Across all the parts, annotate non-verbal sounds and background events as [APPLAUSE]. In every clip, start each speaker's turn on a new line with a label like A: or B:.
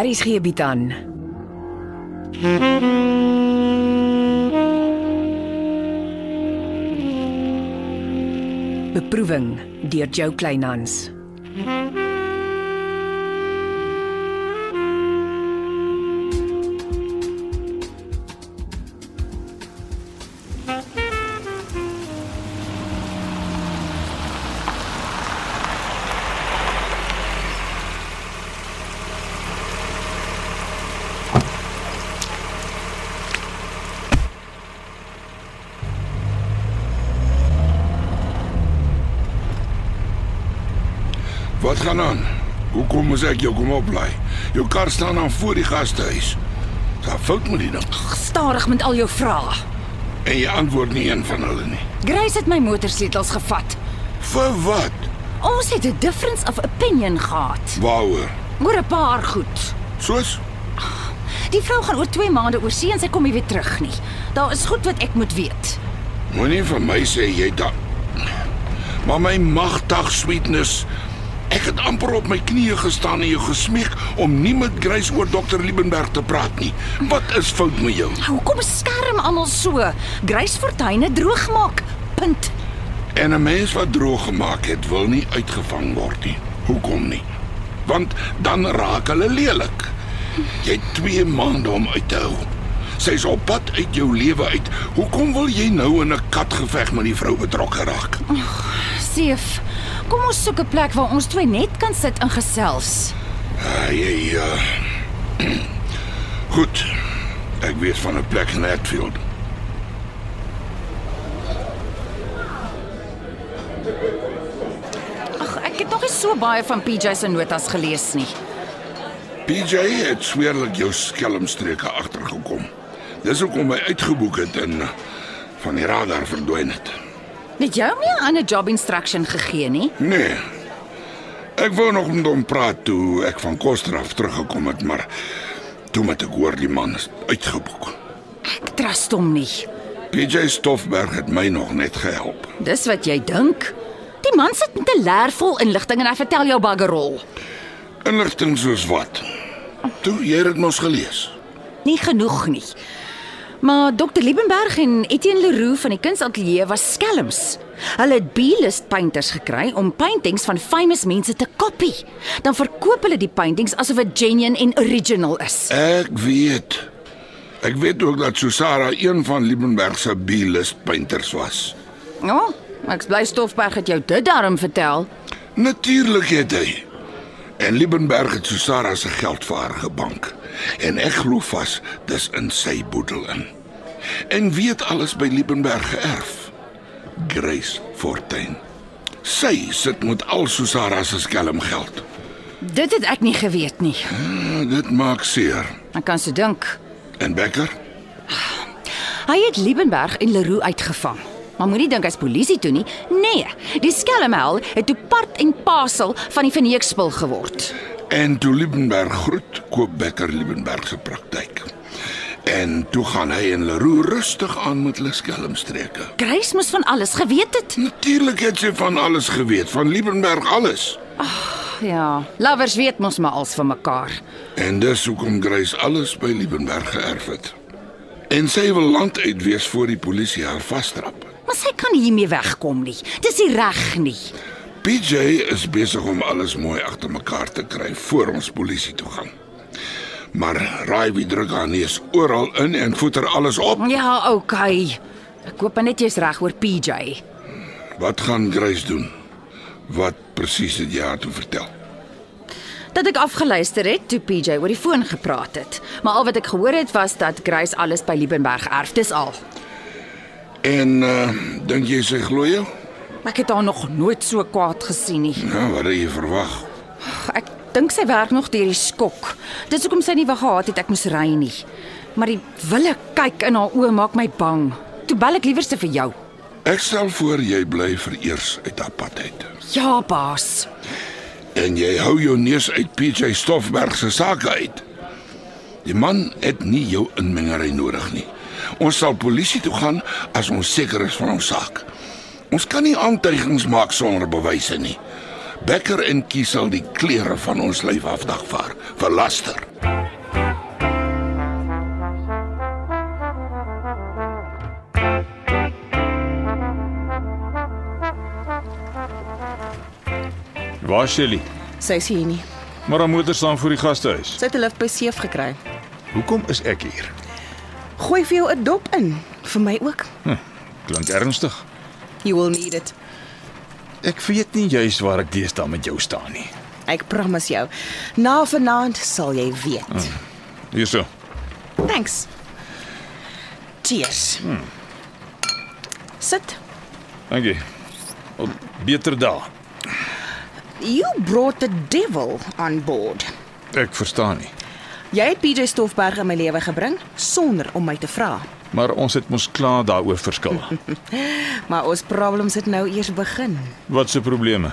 A: Aries gee bied aan. Beproeving deur Jo Kleinhans.
B: Wat gaan aan? Hoekom moes ek jou kom oplaai? Jou kar staan dan voor die gastehuis. Daar fout met die ding.
A: Gestadig met al jou vrae.
B: En jy antwoord nie een van hulle nie.
A: Grace het my motorsleutels gevat.
B: Vir wat?
A: Ons het 'n difference of opinion gehad
B: Waaroor?
A: oor 'n paar goed.
B: Soos
A: Die vrou gaan oor 2 maande oor see en sy kom nie weer terug nie. Daar is goed wat ek moet weet.
B: moenie vir my sê jy dat. Maar my magtig sweetness. Ek het amper op my knieë gestaan en jou gesmeek om nie met Grace oor dokter Liebenberg te praat nie. Wat is fout met jou?
A: Hoekom beskerm almal so? Grace Fortuine droogmaak. Punt.
B: En 'n mens wat droog gemaak het, wil nie uitgevang word nie. Hoekom nie? Want dan raak hulle lelik. Jy het 2 maande om uit te hou. Sy's op pad uit jou lewe uit. Hoekom wil jy nou in 'n katgeveg met die vrou betrokke raak?
A: Seef. Kom ons soek 'n plek waar ons twee net kan sit en gesels.
B: Ah, jy uh... [CLEARS THROAT] Goed. Ek weet van 'n plek in Hatfield.
A: Ag, ek het nog nie so baie van PJ se notas gelees nie.
B: PJ het sweerlik jou skelmstreke agtergekom. Dis hoekom hy uitgeboek het en van die radar verdwyn het.
A: Het jy hom nie 'n ander job instruction gegee nie?
B: Nee. Ek wou nog met hom praat toe ek van Kostraf teruggekom het, maar toe moet ek hoor die man is uitgeboek.
A: Ek trust hom nie.
B: PJ Stoffberg het my nog net gehelp.
A: Dis wat jy dink. Die man sit met 'n leer vol inligting en hy vertel jou baggerol.
B: Inligting soos wat? Toe jy het dit mos gelees.
A: Nie genoeg nie. Maar Dr Liebenberg en Etienne Leroux van die kunsatelier was skelms. Hulle het B-list painters gekry om paintings van famous mense te kopie. Dan verkoop hulle die paintings asof dit genuine en original is.
B: Ek weet. Ek weet ook dat Susara een van Liebenberg se B-list painters was.
A: Ja, oh, ek bly Stoffberg het jou dit daarom vertel.
B: Natuurlik het hy. En Liebenberg het Susara se geld vir haar gebank. En ek glo vas dis in sy boedel in. En wie het alles by Liebenberg geerf? Grace Fortuin. Sy sit met al Susara se skelm geld.
A: Dit het ek nie geweet nie.
B: Nou, Dit maak seer.
A: Ek kan so dink.
B: En Becker?
A: Hy het Liebenberg en Leroux uitgevang. Maar moenie dink hy's polisie toe nie. Nee, die skelmhel het toe part en pasel van die verneekspil geword.
B: En toe Liebenberg groet, koop Becker Liebenberg se praktyk. En toe gaan hy en Leroux rustig aan met hulle skelmstreke.
A: Grace moes van alles geweet het.
B: Natuurlik het sy van alles geweet, van Liebenberg alles.
A: Ja, lovers weet mos maar als van mekaar.
B: En dis hoekom Grace alles by Liebenberg geërf het. En sy wil land uit wees voor die polisie haar vastrap.
A: Maar sy kan hiermee wegkom nie. Dis nie reg nie.
B: PJ is besig om alles mooi agter mekaar te kry voor ons polisie toe gaan. Maar raai wie druk haar neus oral in en voeter alles op.
A: Ja, okay. Ek hoop net jy's reg oor PJ.
B: Wat gaan Grace doen? Wat presies het jy haar toe vertel?
A: Dat ek afgeluister het toe PJ oor die foon gepraat het. Maar al wat ek gehoor het was dat Grace alles by Liebenberg erf. Dis al.
B: En uh, dink jy sy glo jou?
A: Ek het haar nog nooit so kwaad gesien nie.
B: Nou, wat het jy verwag?
A: Ek dink sy werk nog deur die skok. Dis hoekom sy nie wag gehad het ek moes ry nie. Maar die wille kyk in haar oë maak my bang. Toe bel ek liewerste vir jou.
B: Ek stel voor jy bly vereers uit haar pad uit.
A: Ja, baas.
B: En jy hou jou neus uit PJ Stoffberg se sake uit. Die man het nie jou inmengery nodig nie. Ons sal polisie toe gaan as ons seker is van ons saak. Ons kan nie aantuigings maak sonder bewyse nie. Becker en Kiesel die klere van ons lyf afdagvaar vir laster.
C: Waar is Shelly?
D: Sy is hier nie.
C: Maar haar motor staan voor die gastehuis.
D: Sy het 'n lift by Seef gekry.
C: Hoekom is ek hier?
D: Gooi vir jou 'n dop in, vir my ook.
C: Klink ernstig.
D: You will need it.
C: Ek weet nie juis waar ek deesdae met jou staan nie.
D: Ek promise jou. Na vanaand sal jy weet.
C: Hierso.
D: Thanks. Cheers. Sit.
C: Dankie. Op beter dae.
D: You brought the devil on board.
C: Ek verstaan nie.
D: Jy het PJ Stoffberg in my lewe gebring sonder om my te vra.
C: Maar ons het mos klaar daaroor [LAUGHS] verskil.
D: Maar ons problems het nou eers begin.
C: Wat se probleme?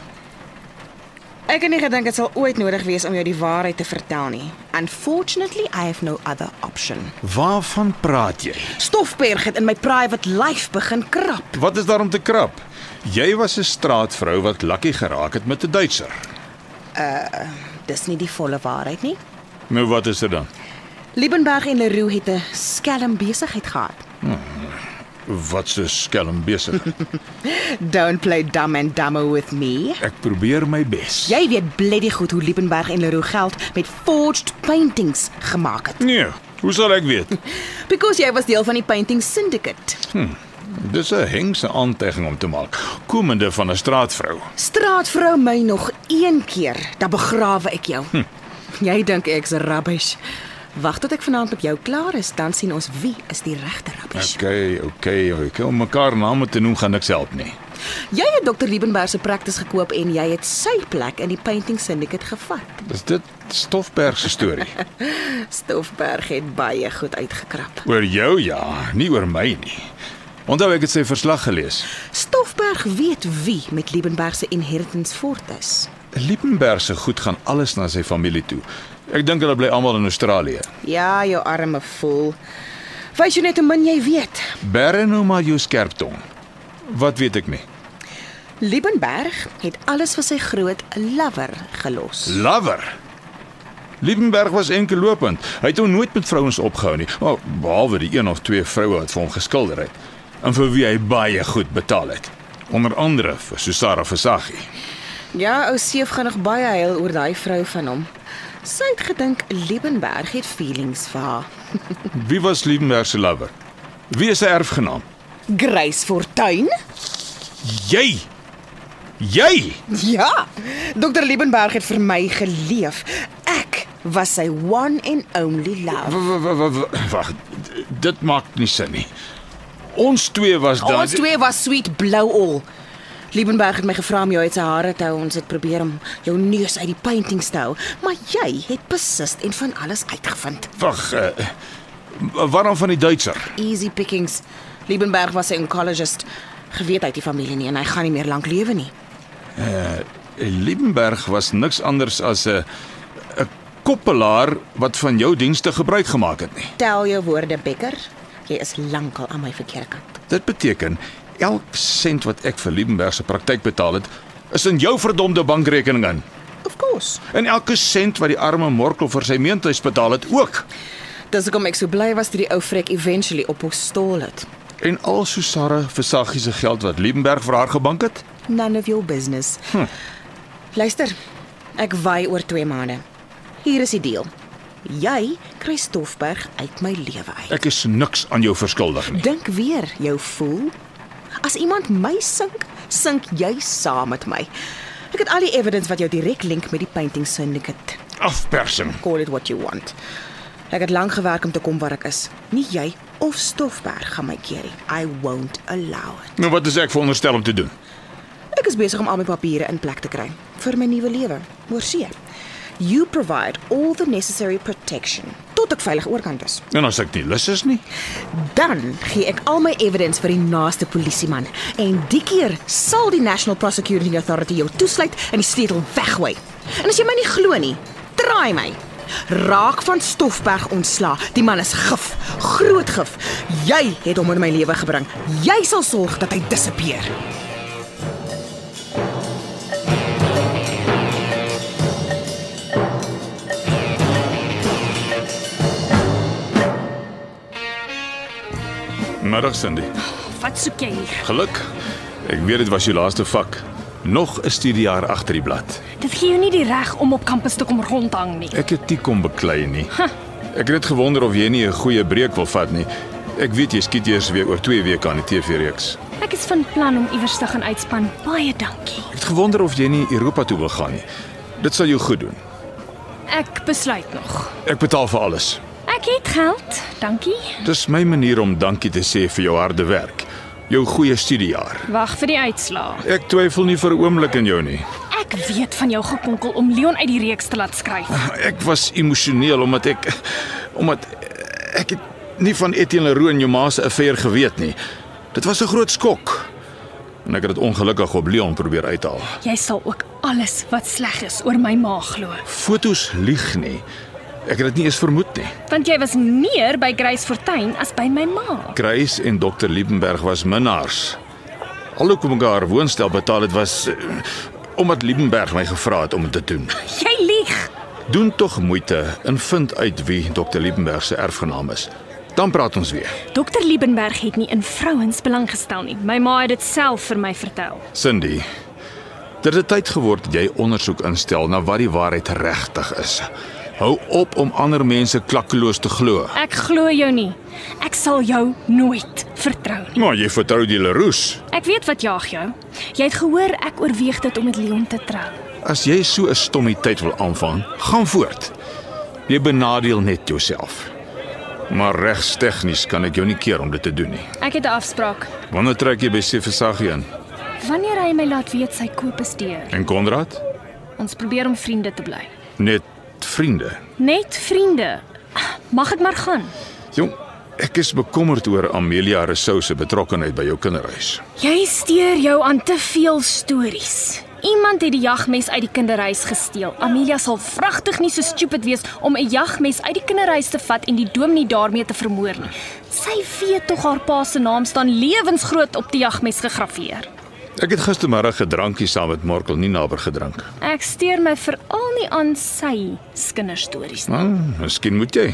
D: Ek het nie gedink dit sal ooit nodig wees om jou die waarheid te vertel nie. Unfortunately, I have no other option.
C: Waarvan praat jy?
D: Stoffberg het in my private life begin krap.
C: Wat is daar om te krap? Jy was 'n straatvrou wat lucky geraak het met 'n Duitser.
D: Dis nie die volle waarheid nie.
C: Nou wat is dit dan?
D: Liebenberg en Leroux het 'n skelm besigheid gehad.
C: Wat se skelm besig. [LAUGHS]
D: Don't play dumb and dumber with me.
C: Ek probeer my bes.
D: Jy weet bloody goed hoe Liebenberg en Leroux geld met forged paintings gemaak het.
C: Nee, hoe sal ek weet?
D: Because jy was deel van die painting syndicate.
C: Dis 'n hengse aantegging om te maak, komende van 'n straatvrou.
D: Straatvrou my nog een keer, dan begrawe ek jou. Hm. Jy dink ek's rubbish. Wag tot ek vanaand op jou klaar is, dan sien ons wie is die regte rubbish.
C: Okay, okay, okay. Om mekaar name te noem gaan niks help nie.
D: Jy het Dr. Liebenberg se praktis gekoop en jy het sy plek in die painting syndicate gevat.
C: Dis dit Stoffberg se storie.
D: Stoffberg het baie goed uitgekrap.
C: Oor jou ja, nie oor my nie. Onthou ek het sy verslag gelees.
D: Stoffberg weet wie met Liebenberg se inheritance voort is.
C: Liebenberg se goed gaan alles na sy familie toe. Ek dink hulle bly almal in Australië.
D: Ja, jou arme fool. Wys jy net hoe min jy weet.
C: Berre nou maar jou skerp tong. Wat weet ek nie.
D: Liebenberg het alles vir sy groot lover gelos.
C: Lover. Liebenberg was enkel lopend. Hy het hom nooit met vrouens opgehou nie, maar behalwe die een of twee vroue wat vir hom geskilder het en vir wie hy baie goed betaal het. Onder andere vir Susara Versaghi.
D: Ja, ou Seef gaan nog baie huil oor daai vrou van hom. Sy het gedink Liebenberg het feelings vir haar.
C: Wie was Liebenberg se lover? Wie is sy erfgenaam?
D: Grace Fortuin?
C: Jy. Jy.
D: [LAUGHS] Ja. Dr. Liebenberg het vir my geleef. Ek was sy one and only love.
C: W- w- w- w- Wag, d- dit maak nie sin nie. Ons twee was daar.
D: Ons twee was sweet blou al. Liebenberg het my gevra om jou uit sy hare te hou. Ons het probeer om jou neus uit die paintings te hou, maar jy het besist en van alles uitgevind.
C: Wag. Uh, waarom van die Duitser?
D: Easy pickings. Liebenberg was 'n oncologist. Geweet uit die familie nie en hy gaan nie meer lank lewe nie.
C: Liebenberg was niks anders as 'n 'n koppelaar wat van jou dienste gebruik gemaak het nie.
D: Tel jou woorde, Becker. Jy is lankal aan my verkeerde kant.
C: Dit beteken elk sent wat ek vir Liebenberg se praktyk betaal het, is in jou verdomde bankrekening in.
D: Of course.
C: En elke sent wat die arme Morkel vir sy meentuis betaal het ook.
D: Dis hoekom ek so bly was toe die ou vrek eventually op hom stol het.
C: En al Susara Versaghi se geld wat Liebenberg vir haar gebank het,
D: None of your business. Hm. Luister. Ek wy oor 2 maande. Hier is die deal. Jy kry Stoffberg uit my lewe uit.
C: Ek is niks aan jou verskuldig nie.
D: Dink weer, jou voel. As iemand my sink, sink jy saam met my. Ek het al die evidence wat jou direk link met die painting syndicate.
C: Afpersing.
D: Call it what you want. Ek het lank gewerk om te kom waar ek is. Nie jy of Stoffberg gaan my keer nie. I won't allow it.
C: Nou wat is ek veronderstel om te doen?
D: Ek is besig om al my papiere in plek te kry vir my nuwe lewe. Oorsee. You provide all the necessary protection tot ek veilig oor kan is.
C: En as ek nie lus is nie,
D: Dan gee ek al my evidence vir die naaste polisieman en die keer sal die National Prosecuting Authority jou toesluit en die sleutel weggooi. En as jy my nie glo nie, traai my. Raak van Stoffberg ontslaa. Die man is gif, groot gif. Jy het hom in my lewe gebring. Jy sal sorg dat hy disappear.
C: Goeiemiddag Cindy.
E: Wat soek jy hier?
C: Geluk. Ek weet dit was jou laaste vak. Nog 'n studiejaar agter die blad.
E: Dit gee jou nie die reg om op kampus te kom rondhang nie.
C: Ek het nie kom beklei nie. Ek het net gewonder of jy nie 'n goeie breek wil vat nie. Ek weet jy skiet eers weer oor 2 weke aan die TV-reeks.
E: Ek is van plan om iewers te gaan uitspan. Baie dankie.
C: Ek het gewonder of jy nie Europa toe wil gaan nie. Dit sal jou goed doen.
E: Ek besluit nog.
C: Ek betaal vir alles.
E: Ek het geld. Dankie.
C: Dis my manier om dankie te sê vir jou harde werk, jou goeie studiejaar.
E: Wag vir die uitslae.
C: Ek twyfel nie vir 'n oomblik aan jou nie.
E: Ek weet van jou gekonkel om Leon uit die reeks te laat skryf.
C: Ek was emosioneel omdat ek omdat ek het nie van Etienne Leroux en jou ma se affair geweet nie. Dit was 'n groot skok. En ek het dit ongelukkig op Leon probeer uithaal.
E: Jy sal ook alles wat sleg is oor my ma glo,
C: Fotos lieg nie. Ek het dit nie eens vermoed nie.
E: want jy was meer by Grace Fortuin as by my ma.
C: Grace en Dr. Liebenberg was minnaars. Alhoekom ek haar woonstel betaal het was eh, omdat Liebenberg my gevra het om dit te doen.
E: Jy lieg.
C: Doen tog moeite en vind uit wie Dr. Liebenberg se erfgenaam is. Dan praat ons weer.
E: Dokter Liebenberg het nie in vrouens belang gestel nie. My ma het dit self vir my vertel.
C: Cindy, dit het tyd geword dat jy ondersoek instel na wat die waarheid regtig is. Hou op om ander mense klakkeloos te glo.
E: Ek glo jou nie. Ek sal jou nooit vertrou nie.
C: Maar jy vertrou die Leroux.
E: Ek weet wat jaag jou. Jy het gehoor ek oorweeg dit om met Leon te trou.
C: As jy so 'n stommiteit wil aanvang, gaan voort. Jy benadeel net jouself. Maar regstegnies kan ek jou nie keer om dit te doen nie.
E: Ek het 'n afspraak.
C: Wanneer trek jy by Sefasaghi in?
E: Wanneer hy my laat weet sy koop is deur,
C: En Konrad?
E: ons probeer om vriende te bly.
C: Net vriende.
E: Net vriende. Mag ek maar gaan.
C: Jong, ek is bekommerd oor Amelia Rousseau se betrokkeheid by jou kinderhuis.
E: Jy steur jou aan te veel stories. Iemand het die jagmes uit die kinderhuis gesteel. Amelia sal vragtig nie so stupid wees om 'n jagmes uit die kinderhuis te vat en die dominee daarmee te vermoor nie. Sy weet tog haar pa se naam staan lewensgroot op die jagmes gegraveer.
C: Ek het gistermiddag 'n drankie saam met Markel Ninaber gedrink.
E: Ek steur my veral nie aan sy skinderstories nie.
C: Maar, Nou, miskien moet jy.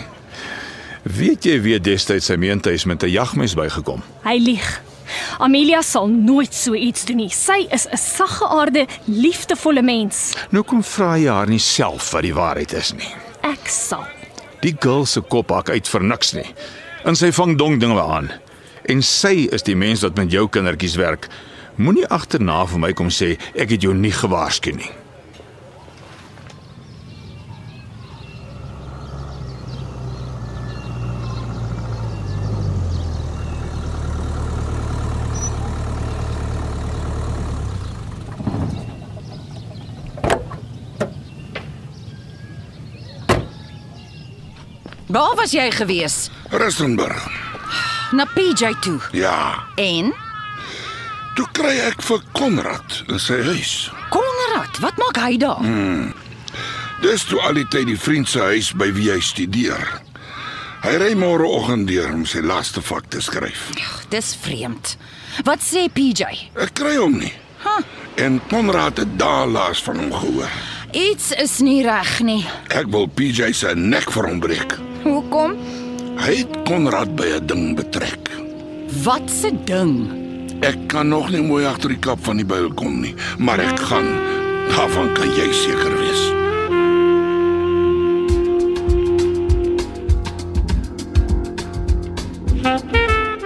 C: Weet jy wie destyds sy meentuis met 'n jagmes bygekom?
E: Hy lieg. Amelia sal nooit so iets doen nie. Sy is 'n saggeaarde, liefdevolle mens.
C: Nou kom vra jy haar nie self wat die waarheid is nie.
E: Ek sal
C: Die girl se kop hak uit vir niks nie. En sy vang dong dinge aan. En sy is die mens wat met jou kindertjies werk. Moenie agterna vir my kom sê ek het jou nie gewaarsku nie.
A: Waar was jy gewees?
B: Rustenburg.
A: Na PJ toe.
B: Ja,
A: En
B: toe kry ek vir Konrad in sy huis.
A: Konrad, wat maak hy daar?
B: Dis toe al die tyd die vriend se huis by wie hy studeer. Hy ry môreoggend deur om sy laaste vak te skryf.
A: Ag, Dis vreemd. Wat sê PJ?
B: Ek kry hom nie.
A: Ha,
B: En Konrad het daar laas van hom gehoor.
A: iets is nie reg nie.
B: Ek wil PJ se nek vir hom breek.
A: Hoekom?
B: Hy het Konrad by 'n ding betrek.
A: Wat se ding?
B: Ek kan nog nie mooi agter die kap van die byl kom nie, maar ek gaan. Daarvan kan jy seker wees.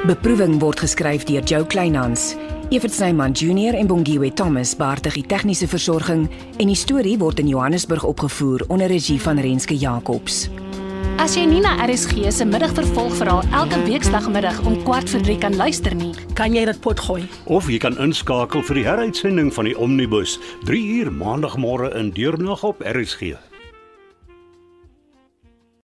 F: Beproeving word geskryf deur Jo Kleinhans. Evert Snyman Junior en Bongwe Thomas baartig die tegniese versorging en die storie word in Johannesburg opgevoer onder regie van Renske Jacobs.
G: As jy Nina RSG se middagvervolgverhaal elke weekslagmiddag om 14:30 kan luister nie,
H: Ja. Kan jy dit potgooi?
I: Of jy kan inskakel vir die heruitsending van die Omnibus 3 uur maandagmôre in deurnag op RSG.